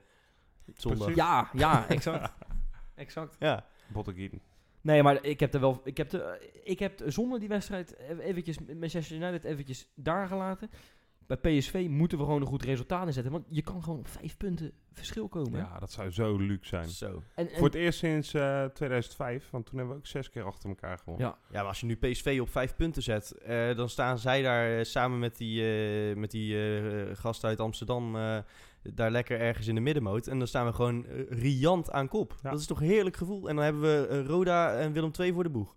Zondag. Precies. Ja, ja, exact. exact. Ja. Botteguin. Nee, maar ik heb er wel. Ik heb, de, ik heb de- zonder die wedstrijd ev- eventjes Manchester United eventjes daar gelaten. Bij PSV moeten we gewoon een goed resultaat inzetten. Want je kan gewoon op vijf punten verschil komen. Ja, dat zou zo luxe zijn. Zo. En, en- Voor het eerst sinds eh, 2005, want toen hebben we ook zes keer achter elkaar gewonnen. Ja. Ja, maar als je nu PSV op vijf punten zet, eh, dan staan zij daar eh, samen met die, eh, met die eh, gast uit Amsterdam eh, daar lekker ergens in de middenmoot. En dan staan we gewoon eh, riant aan kop. Ja. Dat is toch een heerlijk gevoel. En dan hebben we eh, Roda en Willem II voor de boeg.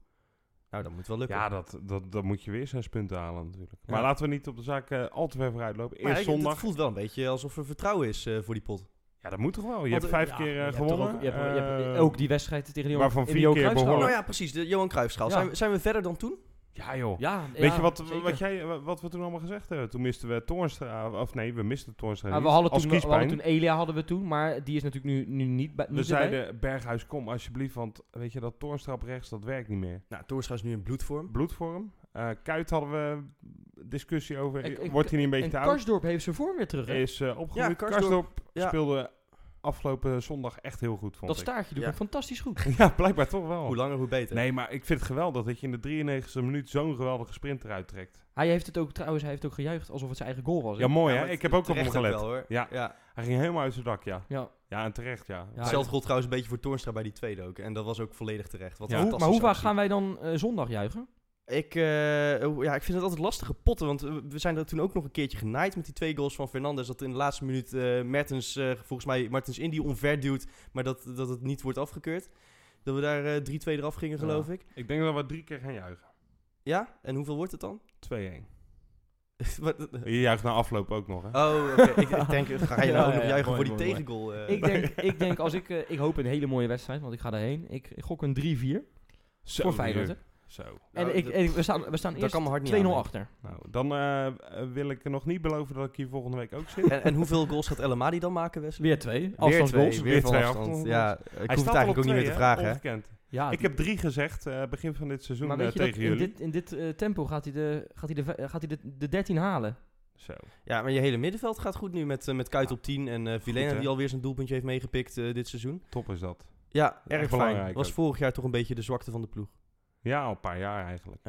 Nou, dat moet wel lukken. Ja, dat, dat, dat moet je weer zes punten halen natuurlijk. Maar Ja. laten we niet op de zaak eh, al te ver vooruit lopen. Eerst maar ik- zondag. Oh. Het voelt wel een beetje alsof er vertrouwen is eh, voor die pot. Ja, dat moet toch wel. Je Want, hebt eh, vijf ja, keer eh, je hebt toch gewonnen. ook, je hebt, je hebt eh, ook die wedstrijd tegen die waarvan in vier Johan keer Cruijffschaal. behoorlijk- Nou ja, precies. De Johan Cruijffschaal. Ja. Zijn, we- zijn we verder dan toen? Oh Ja joh. Ja, Weet ja, je wat, zeker. wat, jij, wat we toen allemaal gezegd hebben? Toen misten we Toornstra, of nee, we misten Toornstra Ah, niet, we, hadden als toen, we kiespijn. hadden toen Elia hadden we toen, maar die is natuurlijk nu, nu niet bij. we niet erbij. zeiden, Berghuis, kom alsjeblieft, want weet je, dat Toornstra op rechts, dat werkt niet meer. Nou, Toornstra is nu in bloedvorm. Bloedvorm. Eh Kuit hadden we discussie over, En- en- wordt hij niet een beetje En te oud? Karsdorp heeft zijn vorm weer terug. hè? Is eh opgegroeid. Ja, Karsdorp. Karsdorp Ja. speelde afgelopen zondag echt heel goed, vond Dat ik. staartje doet Ja. hem fantastisch goed. Ja, blijkbaar toch wel. Hoe langer, hoe beter. Oh. Nee, maar ik vind het geweldig dat je in de 93e minuut zo'n geweldige sprint eruit trekt. Hij heeft het ook trouwens, hij heeft ook gejuicht alsof het zijn eigen goal was. hè? Ja, mooi Ja, hè? maar Ik heb ook op terecht hem gelet. wel, hoor. Ja. ja. Hij ging helemaal uit zijn dak, ja. ja. Ja, en terecht, ja. Ja, Zelf- Hetzelfde gold trouwens een beetje voor Toornstra bij die tweede ook. En dat was ook volledig terecht. Wat Ja. een Hoe- maar hoe fantastische vaak actie. gaan wij dan eh, zondag juichen? Ik, eh, oh, ja, ik vind het altijd lastige potten. Want eh, we zijn er toen ook nog een keertje genaaid met die twee goals van Fernandes. Dat in de laatste minuut eh, Mertens, eh, volgens mij, Martens Indy onver duwt. Maar dat, dat het niet wordt afgekeurd. Dat we daar eh 3-2 eraf gingen, Ja. geloof ik. Ik denk dat we drie keer gaan juichen. Ja? En hoeveel wordt het dan? 2-1. Wat- Je juicht na afloop ook nog, hè? oh, oké. ik, ik denk, ga je Ja, nou ook ja, nog ja. juichen Mooi, voor die mooi, mooi. tegengoal? eh? Ik denk, ik denk als ik, eh, ik hoop een hele mooie wedstrijd, want ik ga daarheen. Ik, ik gok een 3-4 Zo, voor Feyenoord. hè. hier. Zo. En, Nou, ik, dat- en ik- we staan, we staan dat eerst 2-0 kan me hard niet aan, nee. achter. Nou, dan eh, eh, wil ik nog niet beloven dat ik hier volgende week ook zit. En, en hoeveel goals gaat El Amadi dan maken, Wesley? Weer twee. Weer Afstandsgoals. twee, weer van Weer twee afstand. afstand. Ja, ik hoef het eigenlijk ook niet meer te vragen. hè. Ja, Ik heb drie gezegd eh, begin van dit seizoen Ah, maar eh, weet je dat tegen in jullie. dit, in dit eh, tempo gaat hij, de, gaat hij, de, ve- gaat hij de, de 13 halen. Zo. Ja, maar je hele middenveld gaat goed nu met, eh, met Kuit op 10 en eh Vilena Goed, hè? die alweer zijn doelpuntje heeft meegepikt eh, dit seizoen. Top is dat. Ja, Erg erg fijn. belangrijk Was ook. vorig jaar toch een beetje de zwakte van de ploeg. Ja, al een paar jaar eigenlijk.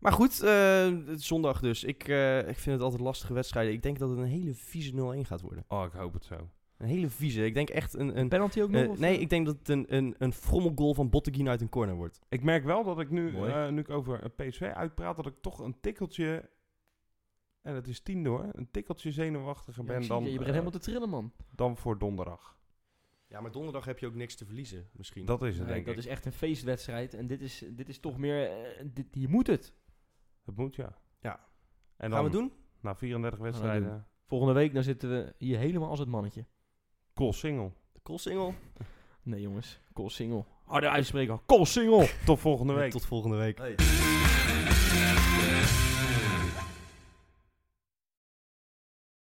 Maar goed, eh, het is zondag dus. Ik, eh, ik vind het altijd lastige wedstrijden. Ik denk dat het een hele vieze 0-1 gaat worden. Oh, ik hoop het zo. Een hele vieze. Ik denk echt een... een Penalty ook nog? eh, of- nee, ik denk dat het een, een, een frommelgoal van Botteguin uit een corner wordt. Ik merk wel dat ik nu, Mooi. eh, nu ik over eh, PSV uitpraat, dat ik toch een tikkeltje, en het is tien hoor, een tikkeltje zenuwachtiger Ja, ik ben zie dan, je, je eh, begint helemaal te trillen, man. dan voor donderdag. Ja, maar donderdag heb je ook niks te verliezen misschien. Dat is het, Nee, denk dat ik. is echt een feestwedstrijd. En dit is, dit is toch meer... eh, dit, hier moet het. Het moet, ja. Ja. En dan, Gaan we doen? na 34 we wedstrijden, Volgende week dan zitten we hier helemaal als het mannetje. cool single. De koolsingel. Nee jongens, Col Single. Harder uitspreken, Col Single! Tot volgende week. Tot volgende week.